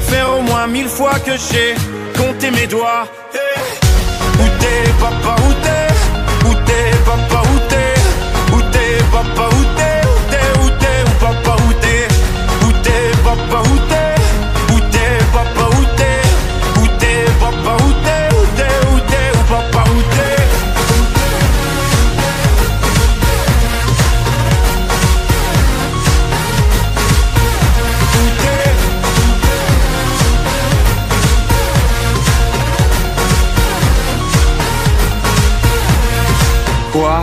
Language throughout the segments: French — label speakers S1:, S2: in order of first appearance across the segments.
S1: faire au moins mille fois que j'ai compté mes doigts. Hey où t'es papa, où t'es Où t'es papa, où t'es Où t'es papa, où t'es Où t'es, où t'es, où papa, où t'es Où t'es papa, où t'es Où t'es papa, où t'es Où t'es papa, où t'es Où t'es, où t'es, où papa, où t'es Quoi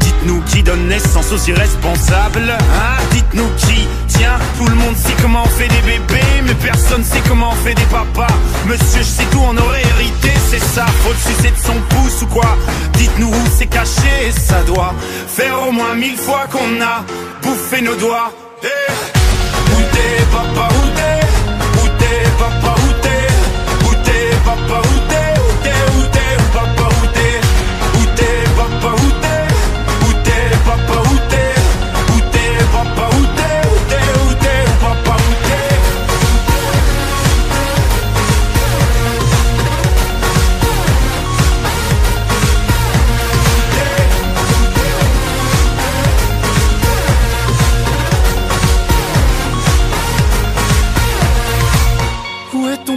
S1: Dites-nous qui donne naissance aux irresponsables Hein Dites-nous qui Tiens, tout le monde sait comment on fait des bébés, mais personne sait comment on fait des papas. Monsieur, je sais tout, on aurait hérité, c'est ça. Faut le sucer de son pouce ou quoi Dites-nous où c'est caché, et ça doit faire au moins mille fois qu'on a bouffé nos doigts. Eh où t'es, papa, où t'es Où t'es, papa, où t'es Où t'es, papa, où t'es Où t'es, où t'es, où papa, où t'es Où t'es, papa, où t'es Où t'es, papa, où t'es Où t'es, papa, où t'es Où t'es, où t'es, où papa, où t'es Où est ton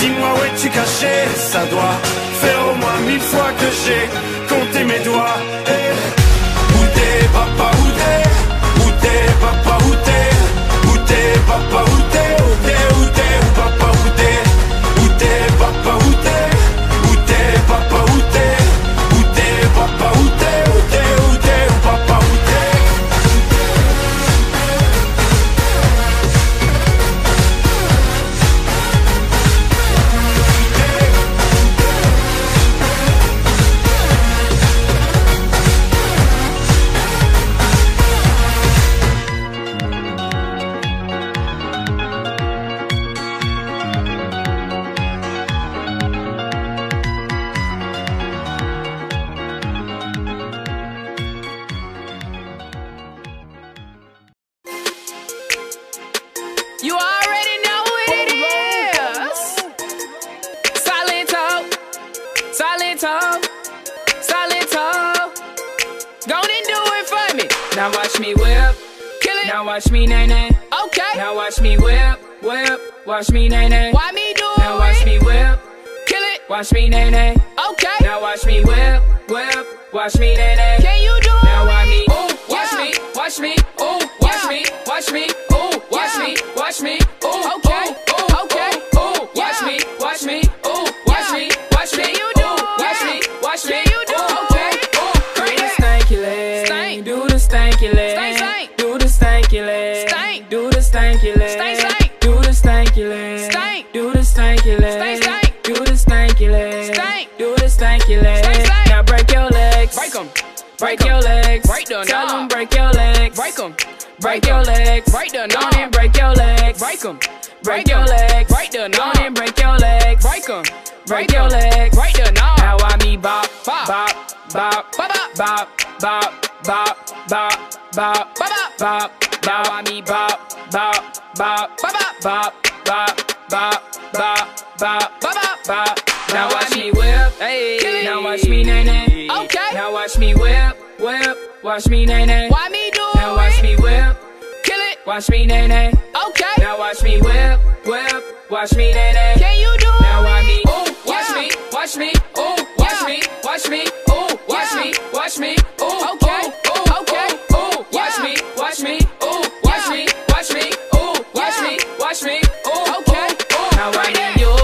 S1: dis-moi où es-tu caché Ça doit faire au moins mille fois que j'ai compté mes doigts. Eh, Où t'es papa, où t'es Où t'es papa, où t'es Où t'es papa, où t'es Où t'es, où t'es, où papa, où t'es Où t'es papa, où t'es Où t'es papa, où t'es Où t'es papa, où t'es Où t'es, où t'es, où papa, où t'es
S2: You already know what it is. Silent talk, silent talk, silent talk. Go on and do it for me. Now watch me whip, kill it. Now watch me nay nay. Okay. Now watch me whip, whip. Watch me nay nay. Why me do it? Now watch me whip, kill it. Watch me nay nay. Okay. Now watch me whip, whip. Watch me nay nay. Can you do it? Now watch me. Ooh, watch me, watch me. Ooh, watch me, watch me. Ooh, watch me, watch me. Ooh, okay, ooh, okay. Ooh, watch me, watch me. Ooh, watch me, watch me. You do, watch me, watch me. You do, okay. Ooh, do the stanky leg. Stank. Do the stanky leg. Stank, stank. Do the stanky leg. Stank. Do the stanky leg. Stank, stank. Do the stanky leg. Stank. Do the stanky leg. Stank, stank. Do the stanky leg. Stank. Do the stanky leg. Stank, stank. Now break your legs. Break
S3: 'em.
S2: Break your legs.
S3: Break the
S2: Tell
S3: knob.
S2: 'em break your legs.
S3: Break 'em.
S2: Break your legs.
S3: Break the
S2: Go on
S3: knob.
S2: and break your legs.
S3: Break 'em.
S2: Break your legs.
S3: Break the
S2: Go on
S3: knob.
S2: and break your legs.
S3: Break 'em.
S2: Break your legs.
S3: Break the knob.
S2: Now I me bop, bop,
S3: Bop.
S2: bop, bop, bop, bop, bop, bop, bop, bop, bop, bop. Now I me bop, bop, bop, bop, bop, bop, bop, bop, bop, bop, bop, bop, bop,
S3: Now watch me whip.
S2: Hey.
S3: Now watch me nay nay.
S2: Okay.
S3: Now watch me whip, whip. Watch me nay nay.
S2: Why me do it?
S3: Now watch me whip.
S2: Kill it.
S3: Watch me nay nay.
S2: Okay.
S3: Now watch me whip, whip. Watch me nay nay.
S2: Can you do
S3: Now
S2: it?
S3: watch me. Ooh, watch
S2: Yeah.
S3: me, watch me. Ooh, watch
S2: Yeah.
S3: me, watch me. Ooh, watch
S2: Yeah.
S3: me, watch me. Ooh,
S2: Okay.
S3: ooh, ooh,
S2: Okay.
S3: ooh, ooh. Watch
S2: Yeah.
S3: me, watch me. Ooh, watch
S2: Yeah.
S3: me, watch me. Ooh, watch
S2: Yeah.
S3: me, watch me. Ooh,
S2: Okay.
S3: ooh, ooh. Now
S2: Right
S3: I
S2: there.
S3: mean you.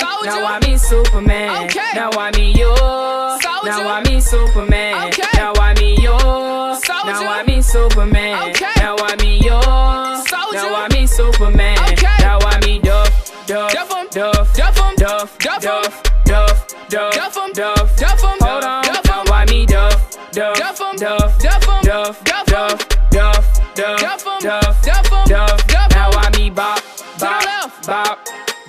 S2: Soldier.
S3: Now I mean Superman.
S2: Okay.
S3: Now I mean you.
S2: Soldier.
S3: Now I mean Superman.
S2: Okay.
S3: Now I mean you.
S2: Soldier.
S3: Now I mean Superman.
S2: Okay.
S3: Now I mean you.
S2: Soldier.
S3: Now I mean Superman.
S2: Okay.
S3: Now I mean Duff, Duff,
S2: Duff 'em.
S3: Duff,
S2: Duff 'em.
S3: Duff,
S2: Duff 'em.
S3: Duff, Duff, Duff,
S2: Duff 'em.
S3: Duff,
S2: Duff 'em.
S3: Hold on,
S2: Duff 'em.
S3: now why me Duff, Duff,
S2: Duff 'em.
S3: Duff,
S2: Duff 'em.
S3: Duff,
S2: Duff 'em.
S3: Duff, Duff, Duff,
S2: Duff 'em.
S3: Duff,
S2: Duff 'em.
S3: Duff,
S2: Duff 'em.
S3: Now why me Bop,
S2: the
S3: Bop,
S2: left.
S3: Bop,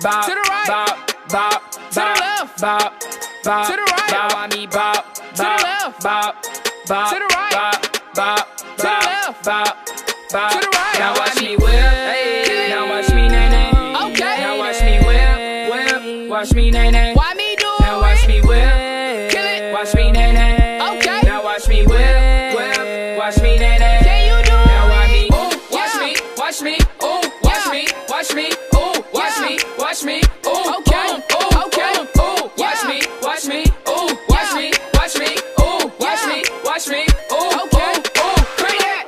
S3: Bop,
S2: To the right.
S3: Bop, Bop,
S2: the
S3: Bop,
S2: left.
S3: Bop, Bop,
S2: To the right.
S3: Now why me Bop, Bop,
S2: the left.
S3: Bop, Bop,
S2: To the right.
S3: Bop, Bop,
S2: the
S3: Bop,
S2: left.
S3: Bop, Bop.
S2: To the right.
S3: Now watch
S2: Hey.
S3: me whip. Now watch me nay nay.
S2: Okay.
S3: Now watch me whip, whip. Watch me nay nay.
S2: Why me do
S3: Now watch me
S2: it?
S3: whip.
S2: Kill it.
S3: Watch me nay nay.
S2: Okay.
S3: Now watch me whip, whip. Watch me nay nay.
S2: Can you do
S3: Now
S2: it?
S3: watch me. Ooh, watch
S2: Yeah.
S3: me. Watch me. Ooh, watch
S2: Yeah.
S3: me. Watch me. Ooh, watch
S2: Yeah.
S3: me. Watch me. Ooh,
S2: Okay.
S3: Ooh, ooh,
S2: Okay.
S3: Ooh, ooh. Watch
S2: Yeah.
S3: me. Watch me. Ooh, watch
S2: Yeah.
S3: me. Watch me. Ooh, watch
S2: Yeah.
S3: me. Watch me. Ooh,
S2: Okay.
S3: ooh, ooh. Bring that.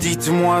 S1: Dites-moi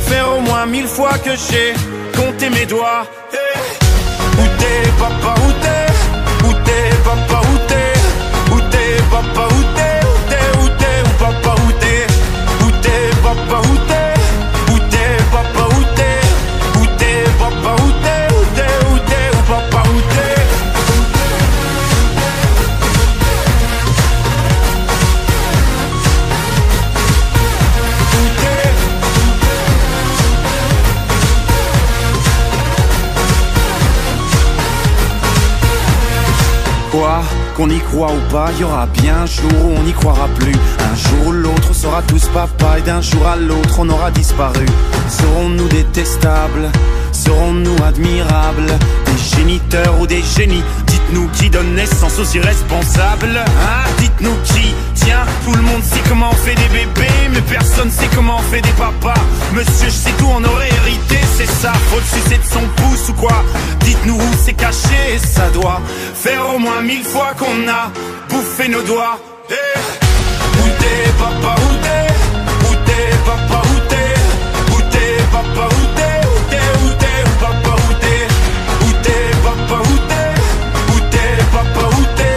S1: faire au moins mille fois que j'ai compté mes doigts. Hey Où t'es papa, où t'es Où t'es papa, où t'es Où t'es papa, où t'es Où t'es, où t'es, où papa, où t'es Où t'es papa, où t'es Où t'es papa, où t'es Où t'es papa, où t'es Où t'es, où t'es, où papa, où t'es Quoi Qu'on y croit ou pas, y aura bien un jour où on n'y croira plus. Un jour ou l'autre, on sera tous papa et d'un jour à l'autre, on aura disparu. Serons-nous détestables Serons-nous admirables Des géniteurs ou des génies Dites-nous qui donne naissance aux irresponsables Hein Dites-nous qui Tiens, tout le monde sait comment on fait des bébés, mais personne sait comment on fait des papas. Monsieur, je sais tout, on aurait hérité, c'est ça. Faut le sucer de son pouce ou quoi Dites-nous où c'est caché, et ça doit faire au moins mille fois qu'on a bouffé nos doigts. Eh où t'es, papa, où t'es Où t'es, papa, où t'es Où t'es, papa, où t'es Où t'es, où t'es, où papa, où t'es Où t'es, papa, où t'es Où t'es, papa, où t'es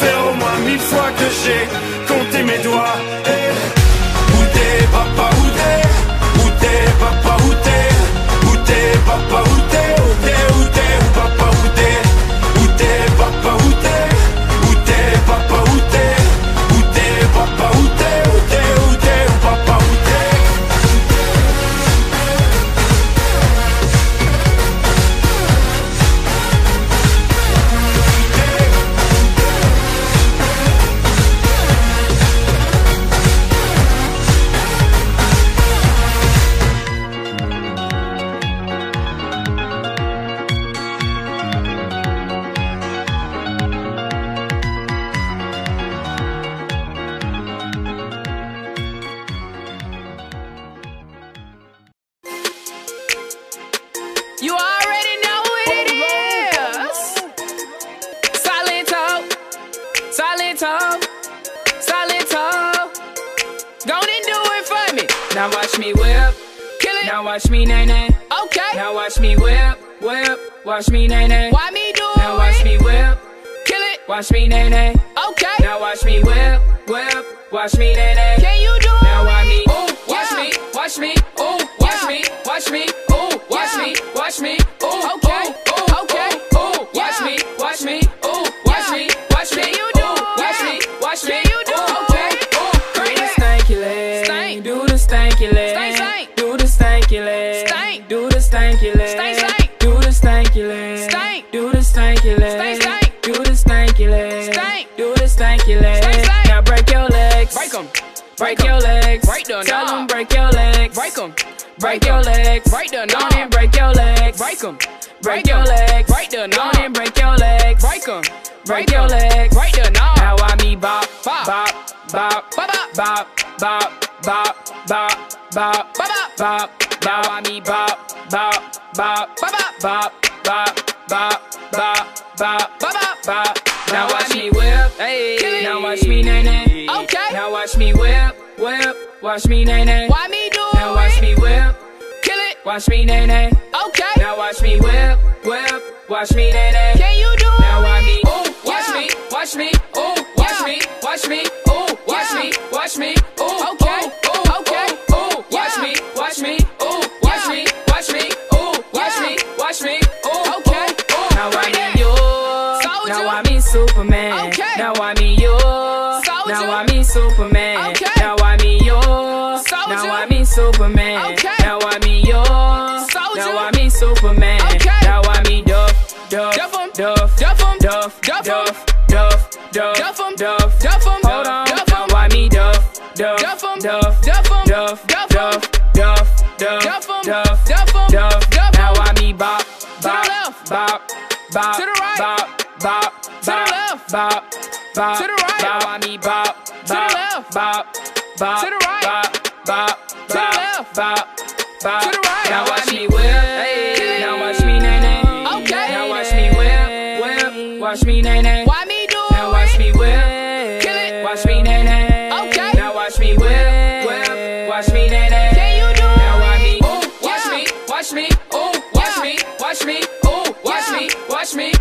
S1: faire au moins mille fois que j'ai compté mes doigts. Eh, Où t'es papa, où t'es Où t'es papa, où t'es Où t'es papa, où t'es Où t'es, où t'es, où papa, où t'es Où t'es papa, où t'es Où t'es papa, où t'es Où t'es papa, où t'es Où t'es, où t'es, où papa, où t'es Où t'es,
S2: You already know what it is. Silent talk, silent talk, silent talk. Go and do it for me.
S3: Now watch me whip.
S2: Kill it.
S3: Now watch me nay nay.
S2: Okay.
S3: Now watch me whip, whip. Watch me nay nay.
S2: Why me do it?
S3: Now watch me whip.
S2: Kill it.
S3: Watch me nay nay.
S2: Okay.
S3: Now watch me whip, whip. Watch me nay nay.
S2: Can you do
S3: Now
S2: it?
S3: why me? Ooh, watch
S2: Yeah.
S3: me, watch me, ooh, watch
S2: Yeah.
S3: me, watch me, ooh, watch
S2: Yeah.
S3: me, watch me, ooh,
S2: Okay,
S3: ooh, ooh,
S2: okay.
S3: ooh, ooh, watch
S2: Yeah.
S3: me, watch me, ooh, watch
S2: Yeah.
S3: me, watch me,
S2: Can you do
S3: ooh,
S2: it?
S3: watch me, watch me,
S2: Can you do
S3: ooh,
S2: it?
S3: ooh, ooh. Do
S2: Bring
S3: the
S2: it.
S3: stanky leg,
S2: Stank.
S3: do the stanky leg,
S2: Stank, stank.
S3: do the stanky leg,
S2: Stank.
S3: do the stanky leg,
S2: Stank, stank.
S3: do the stanky leg,
S2: Stank.
S3: do the stanky leg,
S2: Stank, stank.
S3: do the stanky leg,
S2: Stank.
S3: do the stanky leg.
S2: Stank, stank.
S3: Now break your legs,
S2: Break 'em.
S3: break
S2: Break 'em.
S3: your legs,
S2: Break the
S3: Tell
S2: knob.
S3: 'em break your legs,
S2: Break 'em.
S3: break
S2: Break
S3: your
S2: 'em.
S3: legs,
S2: Break the
S3: Go on
S2: knob.
S3: and break your legs,
S2: Break 'em.
S3: break your legs,
S2: Break the
S3: Go on
S2: knob.
S3: and break your legs,
S2: Break 'em.
S3: break your
S2: 'em.
S3: legs,
S2: Break the knob.
S3: Now I me bop,
S2: Bop.
S3: bop, bop,
S2: Bop, bop.
S3: bop, bop, bop, bop, bop,
S2: Bop, bop.
S3: bop, bop. I me bop, bop, bop,
S2: Bop, bop.
S3: bop, bop, bop, bop, bop,
S2: Bop, bop.
S3: bop. Now
S2: Now
S3: watch
S2: I
S3: me
S2: me-
S3: whip,
S2: Hey.
S3: now watch me nay nay.
S2: Okay.
S3: Now watch me whip, whip, watch me nay nay.
S2: Why me do it?
S3: Now watch me whip,
S2: Kill it.
S3: watch me nay nay.
S2: Okay.
S3: Now watch me whip, whip, watch me nay nay.
S2: Can you do
S3: Now
S2: it?
S3: I me, ooh, watch
S2: Yeah.
S3: me, watch me, ooh, watch
S2: Yeah.
S3: me, watch me, ooh, watch
S2: Yeah.
S3: me, watch me, ooh,
S2: Okay,
S3: ooh,
S2: okay.
S3: ooh, ooh, watch
S2: Yeah.
S3: me, watch me, ooh, watch
S2: Yeah.
S3: me, watch me, ooh, watch
S2: Yeah.
S3: me, watch me, ooh,
S2: Okay.
S3: ooh, ooh. Now I
S2: Bring
S3: me
S2: it.
S3: you,
S2: Soldier.
S3: now I me Superman,
S2: Okay.
S3: now I me you, now
S2: Soldier.
S3: I me Superman,
S2: Okay.
S3: now I me you, now
S2: Soldier.
S3: I me Superman,
S2: Okay.
S3: now I me you,
S2: Soldier.
S3: now I me Superman,
S2: Okay.
S3: now I me Duff, Duff,
S2: Duff 'em.
S3: Duff,
S2: Duff 'em.
S3: Duff,
S2: Duff 'em.
S3: Duff, Duff, Duff,
S2: Duff 'em.
S3: Duff,
S2: Duff 'em.
S3: Hold on,
S2: Duff 'em.
S3: now why me Duff, Duff,
S2: Duff 'em.
S3: Duff,
S2: Duff 'em.
S3: Duff,
S2: Duff 'em.
S3: Duff, Duff, Duff,
S2: Duff 'em.
S3: Duff,
S2: Duff 'em.
S3: Duff,
S2: Duff 'em.
S3: Now why me bop,
S2: the
S3: bop,
S2: left.
S3: bop, bop,
S2: To the right.
S3: bop, bop,
S2: the
S3: bop,
S2: left.
S3: bop, bop,
S2: To the right.
S3: Now why me bop,
S2: the
S3: bop,
S2: left.
S3: bop, bop,
S2: To the right.
S3: bop, bop,
S2: the
S3: bop,
S2: left.
S3: bop, bop.
S2: To the right.
S3: Now watch
S2: Why
S3: me
S2: me
S3: whip,
S2: Hey.
S3: now watch me nay nay,
S2: Okay.
S3: now watch me whip, whip, watch me nay nay.
S2: Why me do
S3: Now watch me
S2: it?
S3: whip,
S2: Kill it.
S3: Watch me nay nay.
S2: Okay.
S3: Now watch me whip, whip. Watch me nay nay.
S2: Can you do
S3: Now watch me.
S2: it?
S3: Ooh, watch
S2: Yeah.
S3: me, watch me. Ooh, watch
S2: Yeah.
S3: me, watch me. Ooh, watch
S2: Yeah.
S3: me, watch me.